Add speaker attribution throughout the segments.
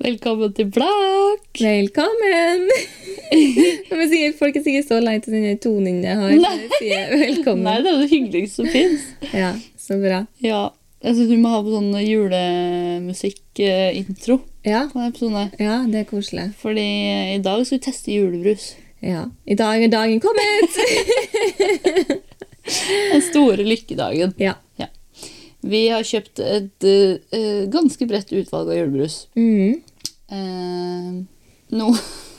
Speaker 1: Velkommen til Blakk!
Speaker 2: Velkommen! Når man sier, folk er sikkert så lei til denne tonen jeg har.
Speaker 1: Nei.
Speaker 2: Når jeg sier velkommen.
Speaker 1: Nei, det er jo det hyggeligste som fins.
Speaker 2: Ja, så bra.
Speaker 1: Ja. Jeg syns vi må ha på sånn julemusikkintro
Speaker 2: Ja,
Speaker 1: på denne episoden. her.
Speaker 2: ja, det er koselig.
Speaker 1: Fordi i dag skal vi teste julebrus.
Speaker 2: Ja. I dag er dagen kommet!
Speaker 1: Den store lykkedagen.
Speaker 2: Ja.
Speaker 1: Vi har kjøpt et eh, eh, ganske bredt utvalg av julebrus.
Speaker 2: Mm.
Speaker 1: Eh, nå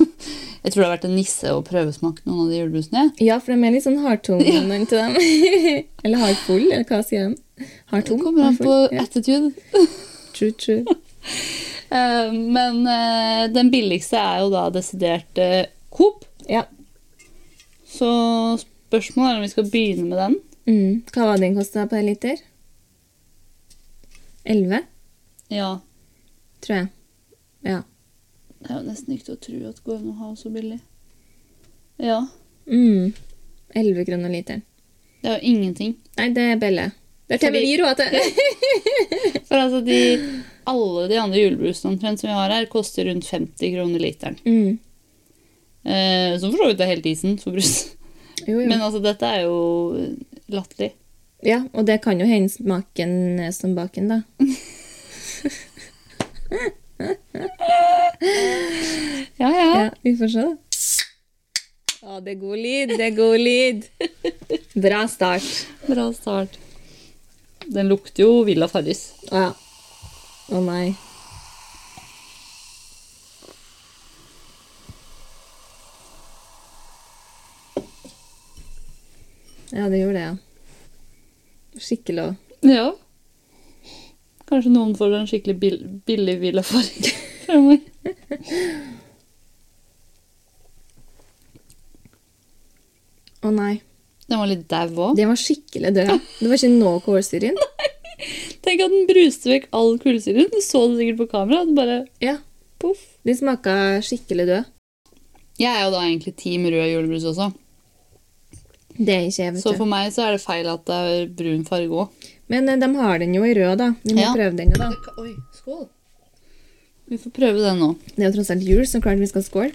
Speaker 1: Jeg tror det har vært en nisse å prøvesmake noen av de julebrusene.
Speaker 2: ja, for de er litt sånn hardtungene til dem. eller hardfull, eller hva sier de?
Speaker 1: Det
Speaker 2: Hardtung?
Speaker 1: kommer an på
Speaker 2: hardfull. ja.
Speaker 1: attitude.
Speaker 2: True, true.
Speaker 1: Eh, men eh, den billigste er jo da desidert eh, Coop.
Speaker 2: Ja.
Speaker 1: Så spørsmålet er om vi skal begynne med den.
Speaker 2: Mm. Hva var den kosta per liter? 11,
Speaker 1: Ja,
Speaker 2: tror jeg. Ja.
Speaker 1: Det er jo nesten ikke til å tro at det går an å ha så billig. Ja.
Speaker 2: Mm. 11 kroner literen.
Speaker 1: Det er jo ingenting.
Speaker 2: Nei, det er Belle. Det er TV
Speaker 1: Fordi-
Speaker 2: vi råd til.
Speaker 1: For altså, de, alle de andre julebrusene omtrent som vi har her, koster rundt 50 kroner literen.
Speaker 2: Mm.
Speaker 1: Eh, som for så vidt er helt decent for brus.
Speaker 2: Jo, jo.
Speaker 1: Men altså, dette er jo latterlig.
Speaker 2: Ja, og det kan jo hende smaken er som baken, da.
Speaker 1: Ja,
Speaker 2: Ja, Vi får se, da. Ja, det er god lyd, det er god lyd. Bra start.
Speaker 1: Bra start. Den lukter jo Villa Farris.
Speaker 2: Å ja. Å nei. Ja, det gjorde det, ja. Skikkelig òg.
Speaker 1: Ja. Kanskje noen får en skikkelig bill billig Villa Farris fremover.
Speaker 2: Å nei.
Speaker 1: Den var litt dau òg.
Speaker 2: Den var skikkelig død. ja. Det var ikke noe kålsyre i den.
Speaker 1: Tenk at den bruste vekk all kullsyren. Du så det sikkert på kamera. Den bare
Speaker 2: Ja,
Speaker 1: poff.
Speaker 2: den smaka skikkelig død.
Speaker 1: Jeg er jo da egentlig team rød julebrus også.
Speaker 2: Det er ikke jeg, vet
Speaker 1: Så
Speaker 2: du.
Speaker 1: for meg så er det feil at det er brun farge òg.
Speaker 2: Men eh, de har den jo i rød, da. Vi må
Speaker 1: Ja.
Speaker 2: prøve den jo, da.
Speaker 1: Oi, skål. Vi får prøve den nå.
Speaker 2: Det er jo tross alt jul, så klart vi skal skåle.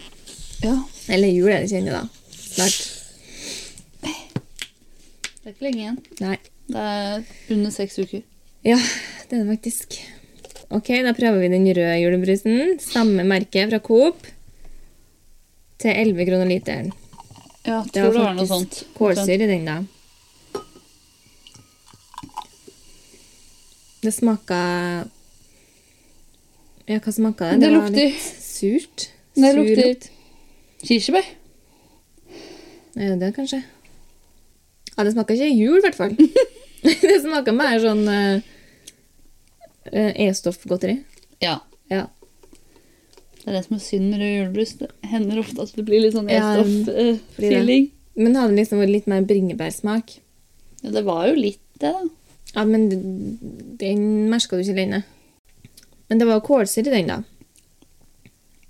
Speaker 1: Ja.
Speaker 2: Eller jul er det ikke ennå, da. Snart.
Speaker 1: Det er ikke lenge igjen.
Speaker 2: Nei.
Speaker 1: Det er under seks uker.
Speaker 2: Ja, det er det faktisk. Ok, da prøver vi den røde julebrusen. Samme merke fra Coop. Til 11 kroner literen.
Speaker 1: Ja, jeg tror det var noe sånt.
Speaker 2: faktisk kålsyre i den, da. Det smaka Ja, hva smaka det?
Speaker 1: Det
Speaker 2: var
Speaker 1: lukter-
Speaker 2: litt surt.
Speaker 1: Det
Speaker 2: Sur lukt.
Speaker 1: lukter kirsebær.
Speaker 2: Er det det, kanskje? Ja, det smaker ikke jul, i hvert fall. det smaker mer sånn eh, eh, E-stoffgodteri.
Speaker 1: Ja.
Speaker 2: Ja.
Speaker 1: Det er det som er synd med rød julebrus. Det hender ofte at det blir litt sånn
Speaker 2: Ja, blir det.
Speaker 1: E-stoff-feeling.
Speaker 2: Men hadde liksom vært litt mer bringebærsmak.
Speaker 1: Ja, det var jo litt det, da.
Speaker 2: Ja, men d- den merka du ikke lenge. Men det var jo kålsyre i den, da.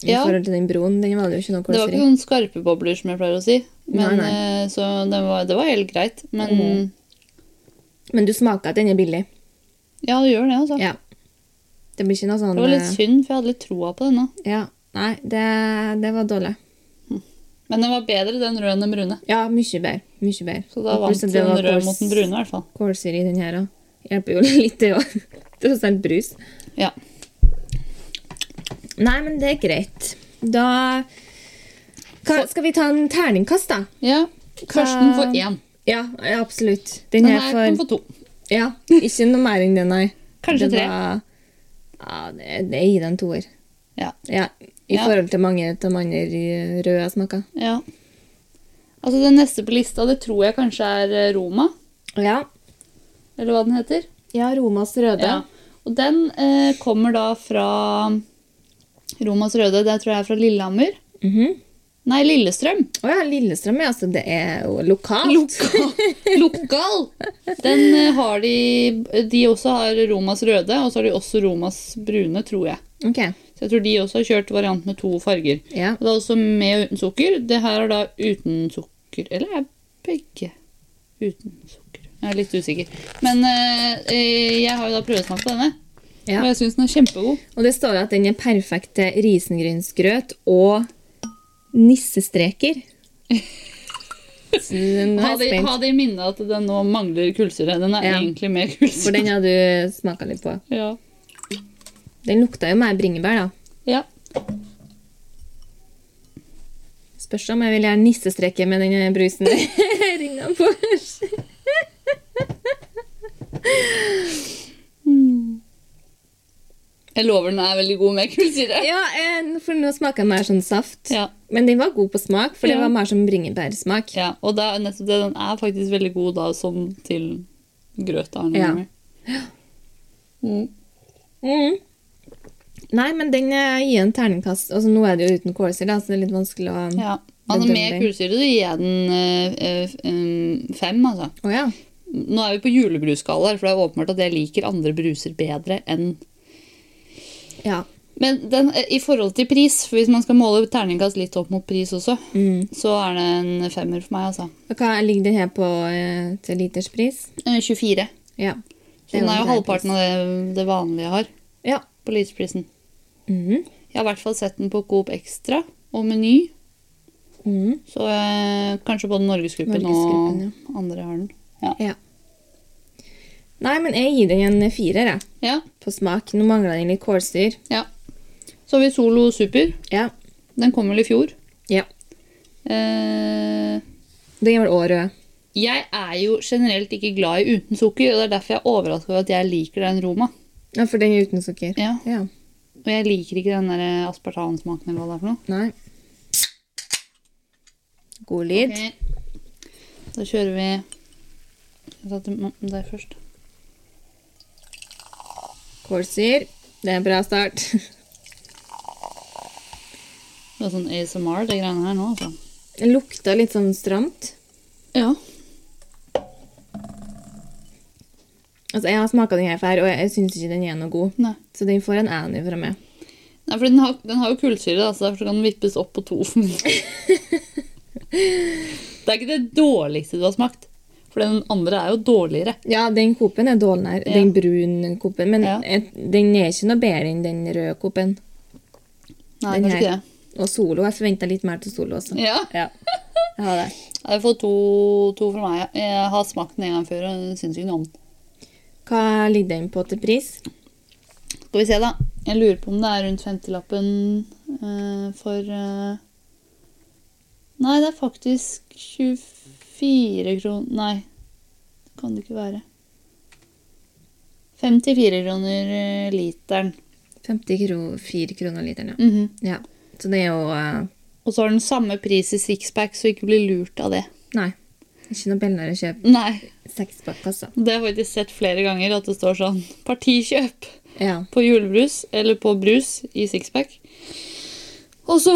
Speaker 2: I
Speaker 1: Ja.
Speaker 2: forhold til den broen. Den var det jo ikke noe
Speaker 1: Det var
Speaker 2: kålsyre
Speaker 1: ikke
Speaker 2: i.
Speaker 1: sånn skarpe bobler, som jeg pleier å si. Men,
Speaker 2: Nei, Mm.
Speaker 1: eh, Så det var, det var helt greit. Men
Speaker 2: Men du smaker at den er billig.
Speaker 1: ja, det gjør det, altså.
Speaker 2: Ja. Det blir ikke noe sånn
Speaker 1: Det var litt
Speaker 2: eh,
Speaker 1: synd, for jeg hadde litt troa på denne.
Speaker 2: Ja. Nei, det, det var dårlig.
Speaker 1: Men den var bedre, den røde enn den brune.
Speaker 2: Ja, mye bedre. Mye bedre.
Speaker 1: Så da
Speaker 2: Og pluss
Speaker 1: vant den
Speaker 2: at det var
Speaker 1: røde
Speaker 2: kåls-
Speaker 1: mot den brune, i hvert fall.
Speaker 2: kålsyre i den her òg. Hjelper jo litt, det òg. Tross alt brus.
Speaker 1: Ja.
Speaker 2: Nei, men det er greit. Da Hva, Skal vi ta en terningkast, da?
Speaker 1: ja. Karsten får én.
Speaker 2: Ja, ja, absolutt. Den
Speaker 1: Den
Speaker 2: her
Speaker 1: her kan
Speaker 2: for
Speaker 1: få to.
Speaker 2: Ja, ikke noe mer enn det, nei.
Speaker 1: Kanskje
Speaker 2: det
Speaker 1: tre.
Speaker 2: var- Ja, det, det gir den toer.
Speaker 1: Ja.
Speaker 2: Ja, I
Speaker 1: Ja.
Speaker 2: forhold til mange av de andre i røde jeg snakka.
Speaker 1: ja. Altså, den neste på lista, det tror jeg kanskje er eh, Roma.
Speaker 2: Ja.
Speaker 1: Eller hva den heter.
Speaker 2: ja, Romas røde.
Speaker 1: Ja. Og den eh, kommer da fra Romas Røde. Det tror jeg er fra Lillehammer.
Speaker 2: Mhm.
Speaker 1: Nei, Lillestrøm.
Speaker 2: Å ja, Lillestrøm, ja. Så det er jo lokalt.
Speaker 1: Lokal. Lokal. Den eh, har de De også har Romas Røde, og så har de også Romas Brune, tror jeg.
Speaker 2: Ok,
Speaker 1: Så jeg tror de også har kjørt variant med to farger.
Speaker 2: ja.
Speaker 1: Og Det er også med og uten sukker. Det her er da uten sukker Eller er begge uten sukker? Jeg er litt usikker. Men eh, eh, jeg har jo da prøvesmakt på denne.
Speaker 2: Ja.
Speaker 1: Og jeg syns den er kjempegod.
Speaker 2: Og det står jo at den er perfekt til risengrynsgrøt og nissestreker. Så nå er
Speaker 1: Ha
Speaker 2: jeg
Speaker 1: det
Speaker 2: spent,
Speaker 1: ha det i minne at den nå mangler kullsyre. Den er
Speaker 2: Ja.
Speaker 1: egentlig mer
Speaker 2: for
Speaker 1: kullsyre.
Speaker 2: den har du smaka litt på.
Speaker 1: Ja.
Speaker 2: Den lukta jo mer bringebær, da.
Speaker 1: ja.
Speaker 2: Spørs om jeg vil gjøre nissestreker med den brusen der inne på.
Speaker 1: Jeg lover den er veldig god med kullsyre.
Speaker 2: Ja, eh, for nå smaker den mer sånn saft.
Speaker 1: Ja.
Speaker 2: Men den var god på smak, for det
Speaker 1: Ja.
Speaker 2: var mer som bringebærsmak.
Speaker 1: Ja, og det er nettopp det. Den er faktisk veldig god da, sånn til grøt. Da,
Speaker 2: Ja.
Speaker 1: Mm.
Speaker 2: Mm. Nei, men den eh, gir en terningkast. Altså, nå er det jo uten kålsyre, da, så det er litt vanskelig å Å ja.
Speaker 1: ja. Altså, med
Speaker 2: dømmer.
Speaker 1: kullsyre så gir jeg den eh, eh, eh, fem, altså. Nå er vi på julebrusskala, her, for det er åpenbart at jeg liker andre bruser bedre enn
Speaker 2: ja.
Speaker 1: Men den, eh, i forhold til pris, for hvis man skal måle terningkast litt opp mot pris også,
Speaker 2: Mm.
Speaker 1: så er det en femmer for meg, altså.
Speaker 2: Og Hva ligger den her på eh, til liters pris?
Speaker 1: Eh, 24.
Speaker 2: Ja.
Speaker 1: Så den er jo
Speaker 2: en grei
Speaker 1: halvparten av det, det vanlige jeg har
Speaker 2: pris. Ja.
Speaker 1: på lysprisen.
Speaker 2: Mhm.
Speaker 1: Jeg har i hvert fall sett den på Coop Extra og Meny.
Speaker 2: Mhm.
Speaker 1: Så eh, kanskje både Norgesgruppen,
Speaker 2: Norgesgruppen,
Speaker 1: og andre har den. Ja.
Speaker 2: ja. Nei, men jeg gir den en firer, jeg.
Speaker 1: ja,
Speaker 2: På smak. Nå mangler den litt kålsyre.
Speaker 1: ja. Så har vi Solo Super.
Speaker 2: Ja.
Speaker 1: Den kom vel i fjor.
Speaker 2: ja.
Speaker 1: Eh,
Speaker 2: Den er vel òg rød.
Speaker 1: jeg er jo generelt ikke glad i uten sukker, og det er derfor jeg er overrasket over at jeg liker den Roma.
Speaker 2: Ja, for den er uten sukker.
Speaker 1: Ja.
Speaker 2: ja.
Speaker 1: Og jeg liker ikke den der aspartansmaken eller hva det er for noe.
Speaker 2: Nei. God lyd.
Speaker 1: Eh, Da kjører vi Jeg satte deg først.
Speaker 2: Kålsyre. Det er en bra start.
Speaker 1: Det er sånn ASMR, det greiene her nå, altså.
Speaker 2: Det lukta litt sånn stramt.
Speaker 1: Ja.
Speaker 2: Altså, Jeg har smaka den her før, og jeg syns ikke den er noe god.
Speaker 1: Nei.
Speaker 2: Så den får en ærlig fra meg.
Speaker 1: Nei, for den har, den har jo kullsyre, da, så derfor kan den vippes opp på to. det er ikke det dårligste du har smakt. For den andre er jo dårligere.
Speaker 2: Ja, den kopen er dårlig her.
Speaker 1: Ja.
Speaker 2: Den brune kopen. Men
Speaker 1: Ja.
Speaker 2: eh, den er ikke noe bedre enn den røde kopen.
Speaker 1: Nei,
Speaker 2: den
Speaker 1: kanskje ikke det.
Speaker 2: Og solo. Jeg forventa litt mer til solo også.
Speaker 1: Ja.
Speaker 2: Ja. Jeg har det.
Speaker 1: Jeg får to, to fra meg. Jeg har smakt den en gang før, og den syns ikke noe om den.
Speaker 2: Hva ligger den på til pris?
Speaker 1: Skal vi se, da. Jeg lurer på om det er rundt 50-lappen eh, for eh, Nei, det er faktisk 24 kroner Nei, det kan det ikke være. 54 kroner eh, literen.
Speaker 2: 54 kroner literen, ja.
Speaker 1: Mhm.
Speaker 2: ja. Så det er jo eh,
Speaker 1: Og så har den samme pris i sixpack, så ikke bli lurt av det.
Speaker 2: Nei. Ikke noe billigere å kjøpe
Speaker 1: Nei,
Speaker 2: sekspakk, altså.
Speaker 1: Det har jeg faktisk sett flere ganger at det står sånn Partikjøp
Speaker 2: Ja.
Speaker 1: på julebrus eller på brus i sixpack. Og så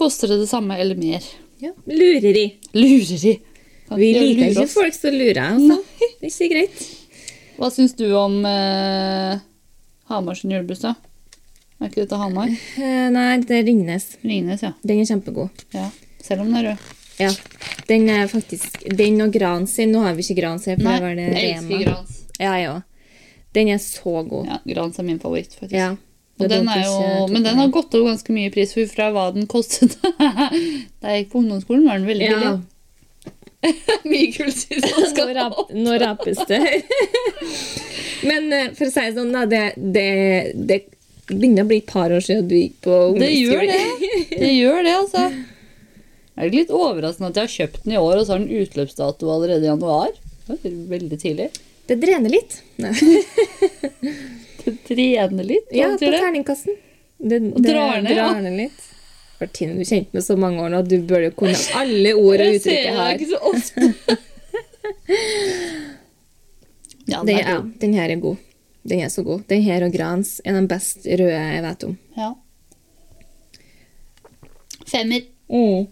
Speaker 1: koster det det samme eller mer.
Speaker 2: ja. Lureri.
Speaker 1: Lureri. Kan
Speaker 2: Vi
Speaker 1: ikke
Speaker 2: liker
Speaker 1: lure
Speaker 2: ikke
Speaker 1: oss.
Speaker 2: folk som lurer, altså. Det er ikke greit.
Speaker 1: Hva syns du om eh, Hamars julebrus, da? Er ikke dette Hamar?
Speaker 2: Eh, Nei, det er Ringnes.
Speaker 1: Ringnes, ja.
Speaker 2: Den er kjempegod.
Speaker 1: ja. Selv om den er rød.
Speaker 2: Ja. Den er faktisk Den og gran sin. Nå har vi ikke gran sin, for det var det
Speaker 1: jeg elsker
Speaker 2: Rema.
Speaker 1: Grans.
Speaker 2: Ja, jeg òg. Den er så god.
Speaker 1: Ja, Grans er min favoritt, faktisk.
Speaker 2: Ja.
Speaker 1: Og den er jo, men den har gått opp ganske mye i pris for fra hva den kostet. da jeg gikk på ungdomsskolen, var den veldig
Speaker 2: ja.
Speaker 1: billig. mye kullsyre som
Speaker 2: Nå,
Speaker 1: skal
Speaker 2: rap,
Speaker 1: opp.
Speaker 2: nå rapes det. men eh, for å si det sånn, da, det, det, det begynner å bli et par år siden du gikk på
Speaker 1: Det gjør det.
Speaker 2: ungdomsskolen.
Speaker 1: Det gjør det, altså. Er det ikke litt overraskende at jeg har kjøpt den i år, og så har den utløpsdato allerede i januar? Det er Veldig tidlig.
Speaker 2: Det drener litt. Nei.
Speaker 1: Det trener litt. hva
Speaker 2: Ja, på
Speaker 1: betyr det?
Speaker 2: terningkassen. Det, det
Speaker 1: Drar ned, ja.
Speaker 2: drar ned litt. Martine, du kjente meg så mange år nå, du bør jo kunne alle ord og
Speaker 1: Jeg ser
Speaker 2: uttrykk jeg
Speaker 1: deg
Speaker 2: har.
Speaker 1: ikke så ofte. ja, den
Speaker 2: Det, ja,
Speaker 1: er god.
Speaker 2: den her er god. Den er så god. Den her og Grans er den best røde jeg vet om.
Speaker 1: Ja. Femmer. Mm.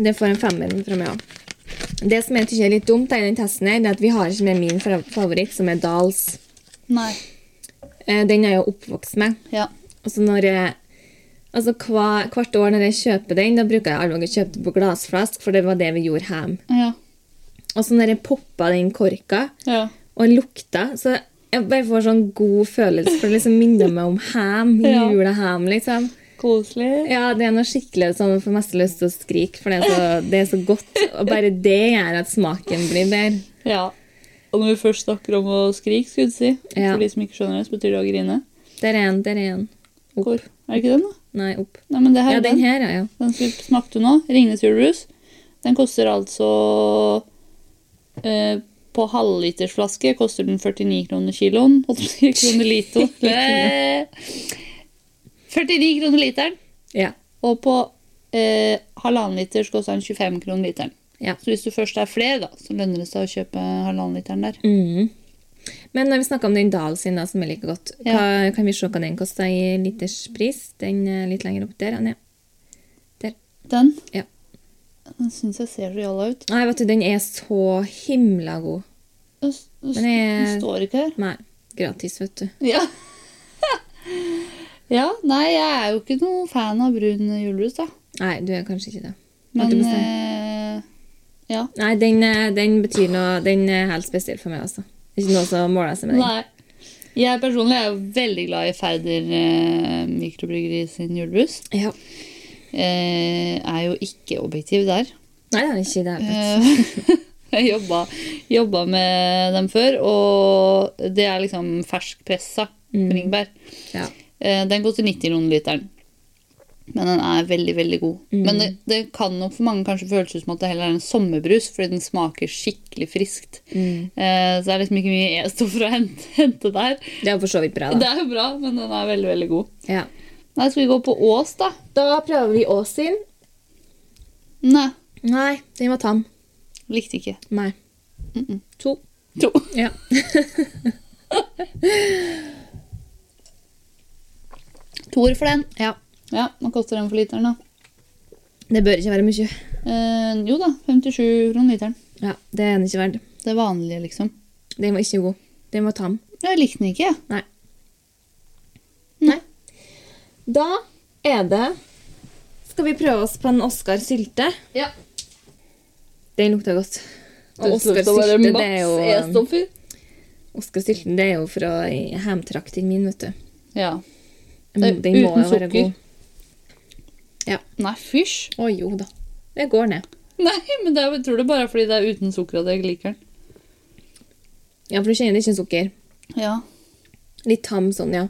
Speaker 2: Det får en femmer fra meg òg. Det som jeg tykker er litt dumt, er i den testen her, det er at vi har ikke med min fra- favoritt, som er Dahls.
Speaker 1: Nei.
Speaker 2: Eh, Den er jeg jo oppvokst med.
Speaker 1: Ja.
Speaker 2: Og så når jeg, altså hva, Hvert år når jeg kjøper den, da bruker jeg alltid å kjøpe den på glassflask, for det var det vi gjorde hjemme.
Speaker 1: Ja.
Speaker 2: Og så når jeg poppa den korka
Speaker 1: ja.
Speaker 2: og lukta, så Jeg bare får sånn god følelse, for det liksom minner meg om ham.
Speaker 1: Ja.
Speaker 2: Juleham, liksom.
Speaker 1: Koselig.
Speaker 2: Ja, det er noe skikkelig sånn jeg får mest lyst til å skrike, for det er så, det er så godt. Og bare det gjør at smaken blir bedre.
Speaker 1: Ja. Og når vi først snakker om å skrike, skulle du si,
Speaker 2: Ja.
Speaker 1: for de som ikke skjønner det, så betyr det å grine.
Speaker 2: Der er en, der er en. Opp.
Speaker 1: Hvor? Er det ikke den, da?
Speaker 2: Nei, opp.
Speaker 1: Nei, men det her
Speaker 2: Ja,
Speaker 1: er
Speaker 2: den her, ja. ja.
Speaker 1: Den som smakte nå, Ringnes julebrus, den koster altså eh, På halvlitersflaske koster den 49 kroner kiloen. Holdt på å si kroner lito. Eh, 49 kroner literen.
Speaker 2: Ja.
Speaker 1: Og på eh, halvannen liter så koster den 25 kroner literen.
Speaker 2: Ja.
Speaker 1: Så hvis du først er flere, da, så lønner det seg å kjøpe halvannen literen der.
Speaker 2: Mm. Men når vi snakker om den Dahl sin, da, som jeg liker godt, hva, kan vi se hva den koster i literspris? Den er litt lenger opp der. Anja.
Speaker 1: Den
Speaker 2: Ja.
Speaker 1: Den syns jeg ser så jalla ut.
Speaker 2: Nei, vet du, den er så himla god.
Speaker 1: Den, s- den, s-
Speaker 2: Men jeg-
Speaker 1: den står ikke her.
Speaker 2: Nei, gratis, vet du.
Speaker 1: Ja. ja, nei, jeg er jo ikke noen fan av brun julebrus, da.
Speaker 2: Nei, du er kanskje ikke det.
Speaker 1: Men
Speaker 2: 100%.
Speaker 1: eh, ja.
Speaker 2: Nei, den, eh, den betyr noe Den er helt spesiell for meg, altså. Det er ikke noe som måler seg med den.
Speaker 1: Nei. Jeg personlig er jo veldig glad i Færder eh, mikrobryggeri sin julebrus.
Speaker 2: Ja.
Speaker 1: Eh, er jo ikke objektiv der.
Speaker 2: Nei, det er ikke det. vet du.
Speaker 1: Eh, jeg jobba, jobba med dem før, og det er liksom ferskpressa
Speaker 2: Mm.
Speaker 1: bringebær.
Speaker 2: Ja.
Speaker 1: Eh, Den koster 90 kroner literen. Men den er veldig, veldig god.
Speaker 2: Mm.
Speaker 1: Men det, det kan nok for mange kanskje føles ut som at det heller er en sommerbrus, fordi den smaker skikkelig friskt.
Speaker 2: Mm.
Speaker 1: Eh, Så det er liksom ikke mye E-stoff å hente, hente der.
Speaker 2: Det er jo for så vidt bra,
Speaker 1: Det
Speaker 2: da.
Speaker 1: er jo bra, men den er veldig, veldig god.
Speaker 2: Ja.
Speaker 1: Nei, skal vi gå på Ås, da?
Speaker 2: Da prøver vi Ås sin.
Speaker 1: Nei,
Speaker 2: Nei, den var tam.
Speaker 1: likte ikke.
Speaker 2: Nei.
Speaker 1: Mm -mm.
Speaker 2: To.
Speaker 1: To.
Speaker 2: Ja.
Speaker 1: Toer for den.
Speaker 2: ja.
Speaker 1: Ja, Hva koster den for literen, da?
Speaker 2: Det bør ikke være mye.
Speaker 1: Eh, jo da, 57 kroner literen.
Speaker 2: Ja, det er den ikke verdt.
Speaker 1: Det vanlige, liksom.
Speaker 2: Den var ikke god. Den var tam.
Speaker 1: Jeg likte den ikke, jeg.
Speaker 2: Nei.
Speaker 1: Nei.
Speaker 2: Da er det Skal vi prøve oss på en Oscar sylte?
Speaker 1: Ja.
Speaker 2: Den lukta godt. Og
Speaker 1: Det
Speaker 2: Oscar
Speaker 1: skal være
Speaker 2: sylte, det er
Speaker 1: maks
Speaker 2: jo um,
Speaker 1: E-stoffer.
Speaker 2: Oscar sylten, det er jo fra hjemtrakten min, vet du.
Speaker 1: Ja. Det er
Speaker 2: Den
Speaker 1: Eh, uten
Speaker 2: må jo være
Speaker 1: sukker.
Speaker 2: god.
Speaker 1: Nei, fysj.
Speaker 2: Å jo da. Det går ned.
Speaker 1: Nei, men det er, jeg tror det bare er fordi det er uten sukker at jeg liker den.
Speaker 2: Ja, for du kjenner det ikke sukker.
Speaker 1: Ja.
Speaker 2: Litt tam sånn, ja.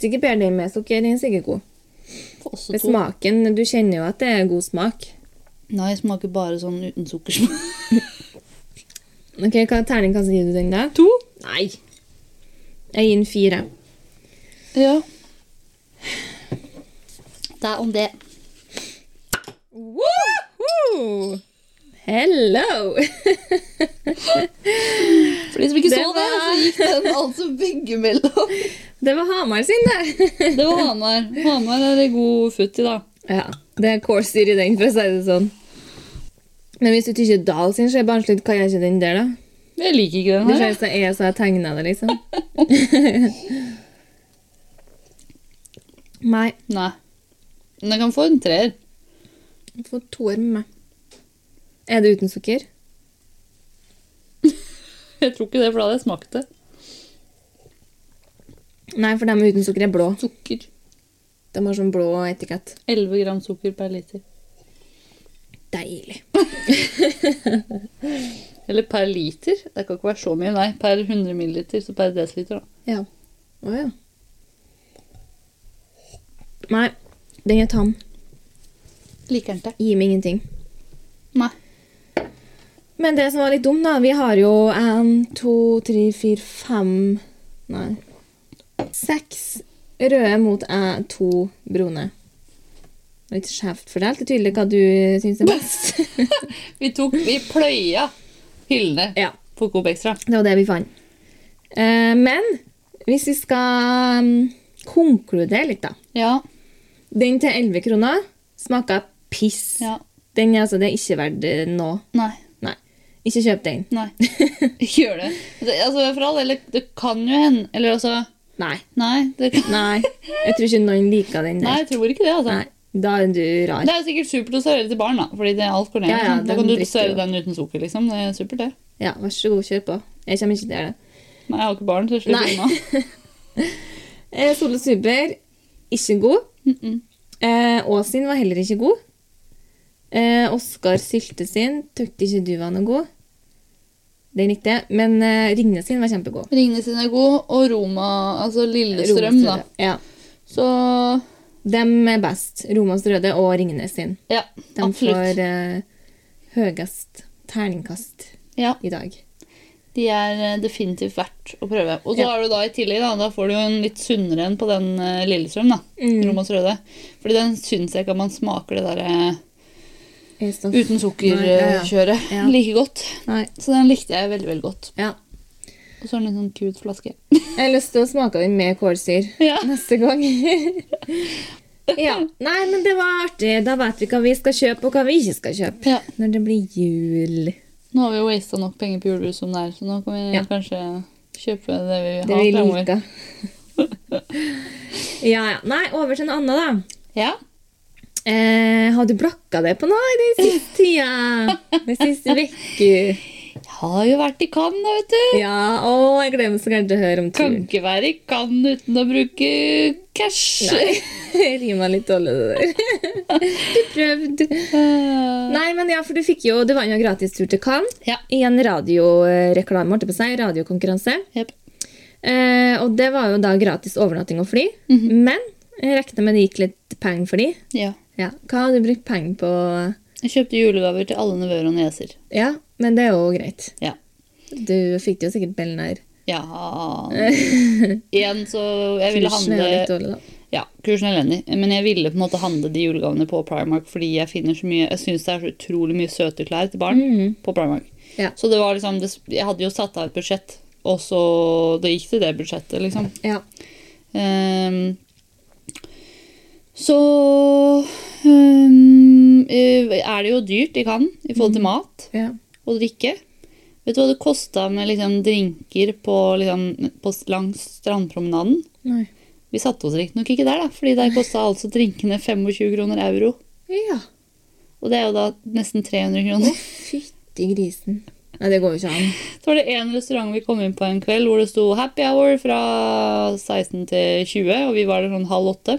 Speaker 2: Sikkert bedre den med sukker. Den er sikkert god. Men smaken Du kjenner jo at det er god smak.
Speaker 1: Nei, jeg smaker bare sånn uten sukkersmak.
Speaker 2: Ok, Hva terningkast gir du den, da?
Speaker 1: To?
Speaker 2: Nei. Jeg gir den fire.
Speaker 1: Ja. Det er om det.
Speaker 2: Woohoo! Hello!
Speaker 1: For de som ikke
Speaker 2: Det
Speaker 1: så det, så gikk den altså begge mellom.
Speaker 2: Det var Hamar sin, det.
Speaker 1: Det var Hamar. Hamar er i god futt i, da.
Speaker 2: Ja, det er kålsyre i den, for å si det sånn. Men hvis du tykker Dahl sin, så er barnslig, hva gjør ikke den der, da?
Speaker 1: Jeg liker ikke
Speaker 2: Det
Speaker 1: den her.
Speaker 2: ser ut som jeg som har tegna det, liksom. Nei,
Speaker 1: jeg. Nei. Men jeg kan få en treer.
Speaker 2: du får toer med meg. Er det uten sukker?
Speaker 1: Jeg tror ikke det, for da hadde jeg smakt det.
Speaker 2: Nei, for de uten sukker er blå.
Speaker 1: Sukker.
Speaker 2: De har sånn blå etikett.
Speaker 1: 11 gram sukker per liter.
Speaker 2: Deilig.
Speaker 1: Eller per liter. Det kan ikke være så mye, nei. Per 100 milliliter, så per desiliter, da.
Speaker 2: Ja. Å ja. Nei, den er tam.
Speaker 1: Liker den ikke.
Speaker 2: Gir meg ingenting.
Speaker 1: Nei.
Speaker 2: Men det som var litt dumt, da Vi har jo én, to, tre, fire, fem Nei. Seks røde mot eh, to brune. Litt skjevt fordelt. Det er tydelig hva du syns er best.
Speaker 1: Vi tok, vi pløya hyllene
Speaker 2: ja,
Speaker 1: på Coop Extra.
Speaker 2: Det var det vi fant. Eh, men hvis vi skal mm, konkludere litt, da.
Speaker 1: Ja.
Speaker 2: Den til 11 kroner smaker piss.
Speaker 1: ja.
Speaker 2: Den er altså, det er ikke verdt eh, noe.
Speaker 1: Nei.
Speaker 2: Nei. Ikke kjøp den.
Speaker 1: Nei. Ikke gjør det. det altså, for all del, det kan jo hende Eller altså
Speaker 2: Nei.
Speaker 1: Nei, det kan,
Speaker 2: Nei. Jeg tror ikke noen liker den
Speaker 1: nei
Speaker 2: der.
Speaker 1: jeg tror ikke det. altså.
Speaker 2: Nei. Da er du rar.
Speaker 1: Det er jo sikkert supert å servere til barn, da. Fordi det er alt går ned.
Speaker 2: Ja, ja,
Speaker 1: liksom. da
Speaker 2: den
Speaker 1: kan du
Speaker 2: drikker jo.
Speaker 1: servere den uten sukker, liksom. Det er supert, det.
Speaker 2: Ja, vær så god, kjør på. Jeg kommer ikke til å gjøre det.
Speaker 1: Nei, jeg har ikke barn, så jeg slipper
Speaker 2: Nei.
Speaker 1: unna.
Speaker 2: Eh, Solo Super, ikke god.
Speaker 1: Mm-mm.
Speaker 2: Eh, Ås sin var heller ikke god. Eh, Oskar Sylte sin tøkte ikke du var noe god. Den likte jeg. Men eh, Ringnes sin var kjempegod.
Speaker 1: Ringnes sin er god, og Roma, altså Lillestrøm, da.
Speaker 2: Ja.
Speaker 1: Så
Speaker 2: Dem er best. Romas Røde og Ringnes sin.
Speaker 1: ja,
Speaker 2: De
Speaker 1: absolutt.
Speaker 2: får eh, høyest terningkast
Speaker 1: Ja,
Speaker 2: i dag.
Speaker 1: de er eh, definitivt verdt å prøve. Og så
Speaker 2: Ja.
Speaker 1: har du da i tillegg, da, da får du jo en litt sunnere en på den eh, Lillestrøm, da.
Speaker 2: Mm.
Speaker 1: Romas røde. Fordi den syns jeg ikke at man smaker det derre
Speaker 2: Er stoff.
Speaker 1: uten
Speaker 2: Nei, ja, ja.
Speaker 1: sukker-kjøret
Speaker 2: Ja.
Speaker 1: like godt.
Speaker 2: Nei.
Speaker 1: Så den likte jeg veldig, veldig godt.
Speaker 2: Ja.
Speaker 1: Og så er den litt sånn cute flaske.
Speaker 2: Jeg har lyst til å smake den med kålsyr.
Speaker 1: Ja.
Speaker 2: neste gang. ja. Nei, men det var artig. Da vet vi hva vi skal kjøpe, og hva vi ikke skal kjøpe.
Speaker 1: ja.
Speaker 2: Når det blir jul.
Speaker 1: Nå har vi jo wasta nok penger på julebrus som det er, så nå kan vi
Speaker 2: Ja.
Speaker 1: kanskje kjøpe det vi
Speaker 2: Det
Speaker 1: har
Speaker 2: vi
Speaker 1: fremover.
Speaker 2: liker. ja, ja. Nei, over til noe annet, da.
Speaker 1: Ja.
Speaker 2: Eh, har du blakka deg på noe i den siste tida? Den siste uka?
Speaker 1: Jeg har jo vært i Cannes, da, vet du.
Speaker 2: Ja, å, jeg gleder meg så gærent til å høre om
Speaker 1: Kan
Speaker 2: turen.
Speaker 1: ikke være i Cannes uten å bruke cash.
Speaker 2: Nei, det rimer litt dårlig, det der. Du prøvde.
Speaker 1: Eh,
Speaker 2: Nei, men ja, for du fikk jo Det var jo en gratistur til Cannes.
Speaker 1: Ja.
Speaker 2: I en radioreklame, holdt jeg på å si. Radiokonkurranse.
Speaker 1: jep.
Speaker 2: Eh, og det var jo da gratis overnatting og fly. Men jeg regna med det gikk litt penger for de.
Speaker 1: Ja.
Speaker 2: Ja. Hva har du brukt penger på?
Speaker 1: Jeg kjøpte julegaver til alle nevøer og nieser.
Speaker 2: Ja, men det er jo greit.
Speaker 1: Ja.
Speaker 2: Du fikk det jo sikkert Bellinær.
Speaker 1: Ja Igjen, så jeg ville handle Ja, kursen er elendig. Men jeg ville på en måte handle de julegavene på Primark fordi jeg finner så mye Jeg syns det er så utrolig mye søte klær til barn på Primark.
Speaker 2: Ja.
Speaker 1: Så det var liksom det, Jeg hadde jo satt av et budsjett, og så Det gikk til det budsjettet, liksom.
Speaker 2: Ja.
Speaker 1: Ehm, så ehm, eh, er det jo dyrt i Cannes i forhold til mat
Speaker 2: ja.
Speaker 1: og drikke. Vet du hva det kosta med liksom, drinker på, liksom, på langs strandpromenaden?
Speaker 2: Nei.
Speaker 1: Vi satte oss riktignok ikke der, da, fordi der kosta altså drinkene 25 kroner euro.
Speaker 2: Ja.
Speaker 1: Og det er jo da nesten 300 kroner.
Speaker 2: Fytti grisen. Nei, det går jo ikke an.
Speaker 1: Så var det én restaurant vi kom inn på en kveld hvor det sto 'happy hour' fra 16 til 20, og vi var der sånn halv åtte.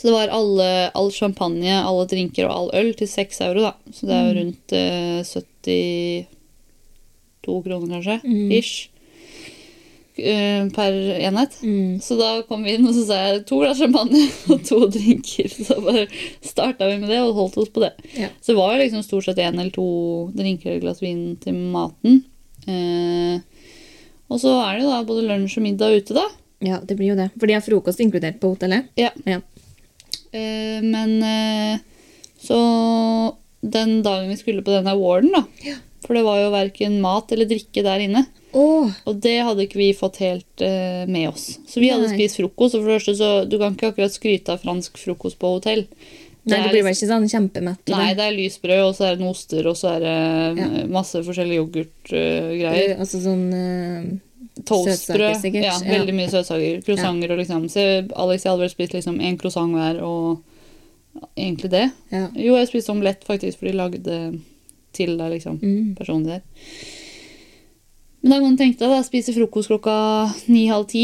Speaker 1: Så det var alle, all champagne, alle drinker og all øl til 6 euro, da. Så det er jo rundt eh, 72 kroner, kanskje.
Speaker 2: Mm.
Speaker 1: Ish. Eh, per enhet.
Speaker 2: Mm.
Speaker 1: Så da kom vi inn, og så sa jeg to glass champagne og to drinker. Så bare starta vi med det og holdt oss på det.
Speaker 2: Ja.
Speaker 1: Så det var jo liksom stort sett én eller to drinker eller glass vin til maten. Eh, og så er det jo da både lunsj og middag ute, da.
Speaker 2: Ja, det blir jo det. For de har frokost inkludert på hotellet.
Speaker 1: Ja.
Speaker 2: Ja.
Speaker 1: Eh, men eh, så den dagen vi skulle på den awarden, da For det var jo verken mat eller drikke der inne.
Speaker 2: Åh,
Speaker 1: Og det hadde ikke vi fått helt eh, med oss. Så vi hadde
Speaker 2: Nei.
Speaker 1: spist frokost, og for det første så du kan ikke akkurat skryte av fransk frokost på hotell.
Speaker 2: Nei,
Speaker 1: er
Speaker 2: det blir
Speaker 1: liksom-
Speaker 2: vel ikke sånn kjempemett? av
Speaker 1: Nei,
Speaker 2: det.
Speaker 1: det er lysbrød, og så er det noen oster, og så er det
Speaker 2: Ja.
Speaker 1: eh, masse forskjellige yoghurtgreier.
Speaker 2: Altså sånn eh, søtsaker
Speaker 1: Toastbrød.
Speaker 2: sikkert,
Speaker 1: Ja,
Speaker 2: ja.
Speaker 1: veldig mye søtsaker. Croissanter og liksom Så Alex, jeg hadde vel spist liksom en croissant hver, og egentlig det.
Speaker 2: eh, Ja.
Speaker 1: Jo, jeg spiste omelett faktisk, for de lagde til deg, liksom.
Speaker 2: Mm.
Speaker 1: personen der. Men da kan du tenke deg da, spise frokost klokka ni-halv ti.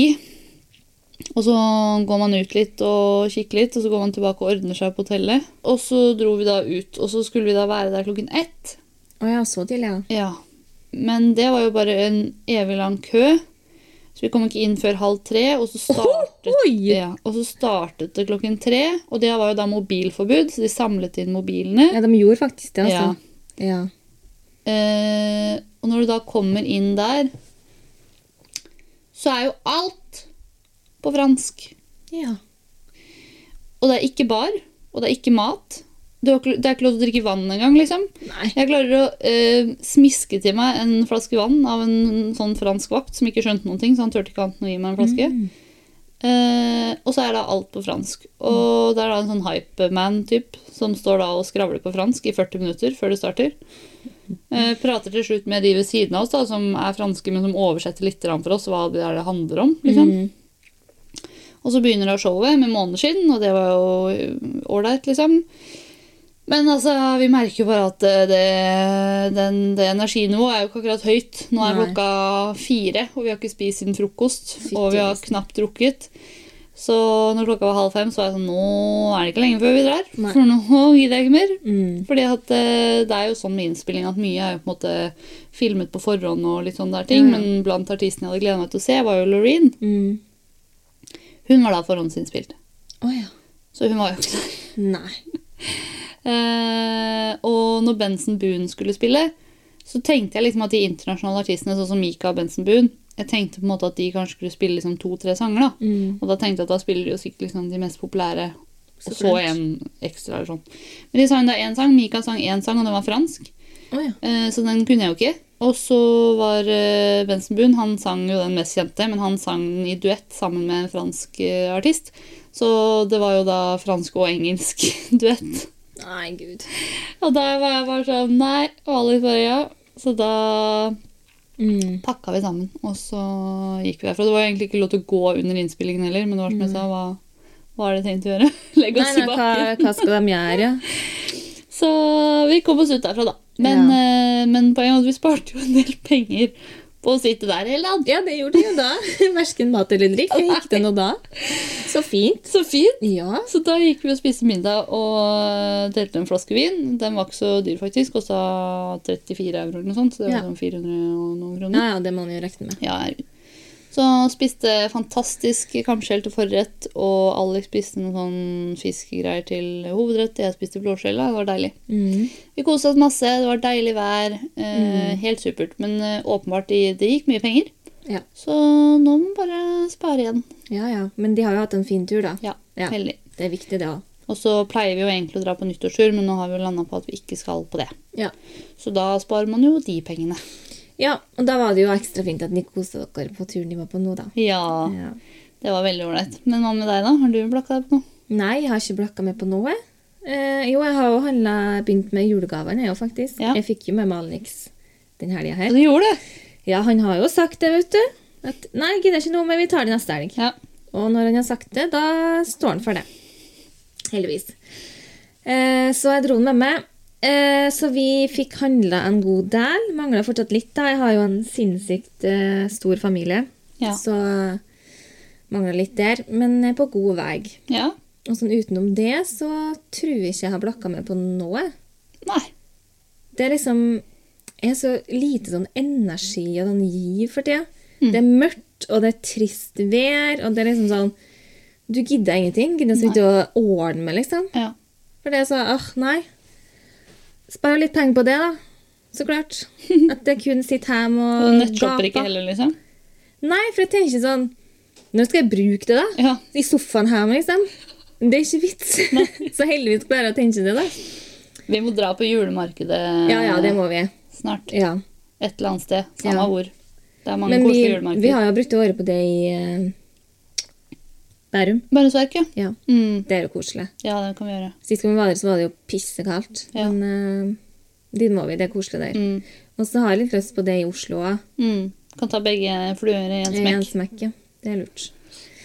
Speaker 1: Og så går man ut litt og kikker litt, og så går man tilbake og ordner seg på hotellet. Og så dro vi da ut, og så skulle vi da være der klokken ett.
Speaker 2: Å ja, så tidlig, ja.
Speaker 1: Ja. Men det var jo bare en evig lang kø, så vi kom ikke inn før halv tre. Og så startet,
Speaker 2: Oi!
Speaker 1: ja, og så startet det klokken tre, og det var jo da mobilforbud, så de samlet inn mobilene.
Speaker 2: Ja, de gjorde faktisk det, altså. Ja.
Speaker 1: Eh, og når du da kommer inn der, så er jo alt på fransk.
Speaker 2: Ja.
Speaker 1: Og det er ikke bar, og det er ikke mat. Du har ikke, det er ikke lov til å drikke vann engang, liksom.
Speaker 2: Nei.
Speaker 1: Jeg klarer å eh, smiske til meg en flaske vann av en sånn fransk vakt som ikke skjønte noen ting, så han turte ikke annet enn å gi meg en flaske. Eh, og så er da alt på fransk. Og det er da en sånn hypeman-typ som står da og skravler på fransk i 40 minutter før det starter. Eh, prater til slutt med de ved siden av oss da, som er franske, men som oversetter litt grann for oss hva det er det handler om. liksom.
Speaker 2: Mm.
Speaker 1: Og så begynner da showet med måneskinn, og det var jo ålreit, liksom. eh, Men altså, vi merker jo bare at eh, det, den, det energinivået er jo ikke akkurat høyt. Nå er
Speaker 2: Nei.
Speaker 1: klokka fire, og vi har ikke spist siden frokost.
Speaker 2: Fytti
Speaker 1: og vi har
Speaker 2: grisen.
Speaker 1: knapt drukket. Så når klokka var halv fem, så var jeg sånn Nå er det ikke lenge før vi drar.
Speaker 2: Nei.
Speaker 1: For nå gidder jeg ikke mer.
Speaker 2: Mm.
Speaker 1: Fordi at eh, det er jo sånn med innspilling at mye er jo på en måte filmet på forhånd og litt sånne der ting.
Speaker 2: Ja, ja.
Speaker 1: Men blant artistene jeg hadde gleda meg til å se, var jo Loreen.
Speaker 2: Mm.
Speaker 1: Hun var da forhåndsinnspilt.
Speaker 2: Å ja.
Speaker 1: Så hun var jo ikke der.
Speaker 2: Nei.
Speaker 1: Eh, og når Benson Boone skulle spille, så tenkte jeg liksom at de internasjonale artistene, sånn som Mika og Benson Boone, jeg tenkte på en måte at de kanskje skulle spille liksom to-tre sanger. da.
Speaker 2: Mm.
Speaker 1: Og da tenkte jeg at da spiller de jo sikkert liksom de mest populære, og
Speaker 2: Så
Speaker 1: så
Speaker 2: klart.
Speaker 1: en ekstra. eller sånn. Men de sang da én sang. Mika sang én sang, og den var fransk.
Speaker 2: Å ja.
Speaker 1: Eh, så den kunne jeg jo ikke. Og så var eh, Benson Boone, han sang jo den mest kjente, men han sang i duett sammen med en fransk eh, artist. Så det var jo da fransk og engelsk duett.
Speaker 2: Nei, gud.
Speaker 1: Og da var jeg bare sånn Nei. Og Alice bare ja. Så da
Speaker 2: Mm.
Speaker 1: pakka vi sammen, og så gikk vi derfra. Det var egentlig ikke lov til å gå under innspillingen heller, men det var som jeg sa, hva, hva er det tenkt å gjøre? Legge
Speaker 2: Mm. Nei,
Speaker 1: oss
Speaker 2: nei,
Speaker 1: i
Speaker 2: hva,
Speaker 1: bakken.
Speaker 2: hva skal de gjøre, ja?
Speaker 1: Så vi kom oss ut derfra, da. Men, eh, men poenget er at vi sparte jo en del penger på å sitte der hele dagen.
Speaker 2: Ja, det gjorde de jo da. Verken mat eller drikk. Det gikk det nå da. Så fint.
Speaker 1: Så fint.
Speaker 2: Ja.
Speaker 1: Så da gikk vi og spiste middag og eh, delte en flaske vin. Den var ikke så dyr, faktisk. Kosta 34 euro eller noe sånt. Så det var
Speaker 2: Ja.
Speaker 1: sånn 400 og noen kroner.
Speaker 2: Ja, ja, det må man jo regne med.
Speaker 1: Ja, herregud. Så spiste fantastisk kamskjell til forrett, og Alex spiste noen sånn fiskegreier til hovedrett. Jeg spiste blåskjell, da. det var deilig.
Speaker 2: Mm.
Speaker 1: Vi koste oss masse, det var deilig vær. Eh, Helt supert. Men eh, åpenbart i- det gikk mye penger,
Speaker 2: Ja.
Speaker 1: så nå må man bare spare igjen.
Speaker 2: ja, ja. Men de har jo hatt en fin tur, da.
Speaker 1: Ja,
Speaker 2: Ja.
Speaker 1: heldig.
Speaker 2: Det er viktig, det òg.
Speaker 1: Og så pleier vi jo egentlig å dra på nyttårstur, men nå har vi jo landa på at vi ikke skal på det.
Speaker 2: Ja.
Speaker 1: Så da sparer man jo de pengene.
Speaker 2: ja. Og da var det jo ekstra fint at de koste dere på turen de var på nå, da.
Speaker 1: Ja,
Speaker 2: Ja.
Speaker 1: det var veldig ålreit. Men hva med deg, da? Har du blakka deg på noe?
Speaker 2: Nei, jeg har ikke blakka meg på noe. Eh, jo, jeg har jo handlet- begynt med julegavene, jeg òg, faktisk.
Speaker 1: Ja.
Speaker 2: Jeg fikk jo med meg Alex den helga
Speaker 1: Ja,
Speaker 2: her.
Speaker 1: du gjorde det!
Speaker 2: Ja, han har jo sagt det, vet du. At nei, jeg gidder ikke nå, men vi tar det neste helg.
Speaker 1: Ja.
Speaker 2: Og når han har sagt det, da står han for det. Heldigvis. Eh, så jeg dro den med meg. Eh, så vi fikk handla en god del. Mangla fortsatt litt, da. Jeg har jo en sinnssykt eh, stor familie,
Speaker 1: Ja.
Speaker 2: så eh, mangla litt der. Men eh, på god vei.
Speaker 1: ja.
Speaker 2: Og sånn utenom det så tror jeg ikke jeg har blakka meg på noe.
Speaker 1: Nei.
Speaker 2: Det er liksom Jeg er så lite sånn energi og sånn giv for tida.
Speaker 1: Mm.
Speaker 2: Det er mørkt, og det er trist vær, og det er liksom sånn Du gidder ingenting. Gidder så ikke å ordne med, liksom.
Speaker 1: Ja.
Speaker 2: For det er så Åh, nei. Spar litt penger på det, da. Så klart. At det kun sitter hjemme
Speaker 1: Og
Speaker 2: og
Speaker 1: nettshopper ikke heller, liksom?
Speaker 2: Nei, for jeg tenker sånn Når skal jeg bruke det, da?
Speaker 1: Ja.
Speaker 2: I sofaen hjemme, liksom. Det er ikke vits. så heldigvis klarer jeg å tenke det, da.
Speaker 1: Vi må dra på julemarkedet
Speaker 2: Ja, ja, det må vi.
Speaker 1: snart.
Speaker 2: Ja.
Speaker 1: Et eller annet sted. Samme
Speaker 2: Ja.
Speaker 1: hvor. Det er mange
Speaker 2: Men
Speaker 1: koselige
Speaker 2: vi, vi
Speaker 1: julemarkeder.
Speaker 2: har jo brukt året på det i eh, Bærum.
Speaker 1: Bæresverk, ja.
Speaker 2: Ja,
Speaker 1: Mm.
Speaker 2: Det er jo koselig.
Speaker 1: Ja, det kan vi gjøre.
Speaker 2: Sist gang vi var der, så var det jo pissekaldt.
Speaker 1: Ja.
Speaker 2: Men uh, dit må vi. Det er koselig der.
Speaker 1: Mm.
Speaker 2: Og så har jeg litt lyst på det i Oslo òg.
Speaker 1: Mm. Kan ta begge fluer i en
Speaker 2: En
Speaker 1: smekk.
Speaker 2: smekk. ja. Det er lurt.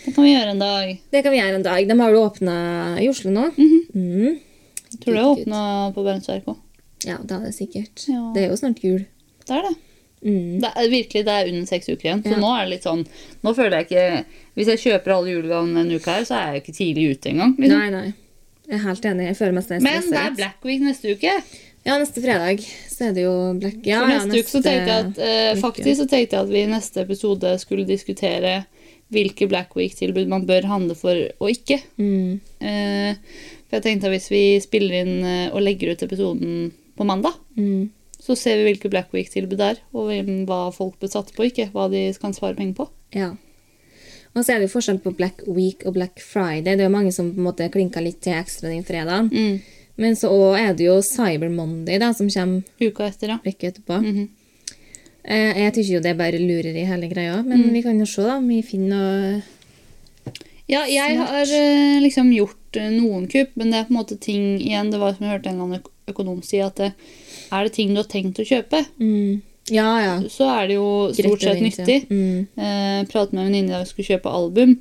Speaker 1: Det kan vi gjøre en dag.
Speaker 2: Det kan vi gjøre en dag. De har jo åpna i Oslo nå. Mm.
Speaker 1: Jeg Mhm. tror det er åpna på Bærumsverk òg.
Speaker 2: Ja, det er det sikkert.
Speaker 1: Ja.
Speaker 2: Det er jo snart jul.
Speaker 1: Det er det.
Speaker 2: Mm.
Speaker 1: det er, virkelig, det er under seks uker igjen. Så
Speaker 2: Ja.
Speaker 1: nå er det litt sånn Nå føler jeg ikke Hvis jeg kjøper alle julegavene en uke her, så er jeg jo ikke tidlig ute engang. Liksom.
Speaker 2: Nei, nei. Jeg er helt enig. Jeg føler meg stressa.
Speaker 1: Men det er Black Week neste uke.
Speaker 2: Ja, neste fredag så er det jo black. Ja,
Speaker 1: Så
Speaker 2: ja,
Speaker 1: neste uke så tenkte jeg at eh,
Speaker 2: uke.
Speaker 1: Faktisk så tenkte jeg at vi i neste episode skulle diskutere hvilke Black Week-tilbud man bør handle for og ikke.
Speaker 2: mm.
Speaker 1: Eh, for jeg tenkte at hvis vi spiller inn eh, og legger ut episoden på mandag,
Speaker 2: Mm.
Speaker 1: så ser vi hvilke Black Week-tilbud det er, og hvem- hva folk bør satse på, ikke hva de kan spare penger på.
Speaker 2: Ja. Og så er det jo forskjell på Black Week og Black Friday. Det er jo mange som på en måte klinker litt til ekstra den fredagen.
Speaker 1: Mm.
Speaker 2: Men så også er det jo Cyber Monday da, som kommer
Speaker 1: Uka etter, ja.
Speaker 2: vekk etterpå.
Speaker 1: Mhm.
Speaker 2: Eh, Jeg tykker jo det er bare lureri hele greia, men
Speaker 1: Mm.
Speaker 2: vi kan jo se da om vi finner noe
Speaker 1: Ja, jeg har eh, liksom gjort eh, noen kupp, men det er på en måte ting igjen Det var som jeg hørte en eller annen øk- økonom si, at eh, er det ting du har tenkt å kjøpe,
Speaker 2: mm. Ja, ja.
Speaker 1: så er det jo stort
Speaker 2: Greit å
Speaker 1: sett
Speaker 2: vente.
Speaker 1: nyttig.
Speaker 2: Mm.
Speaker 1: Eh, pratet med en venninne i dag skulle kjøpe album.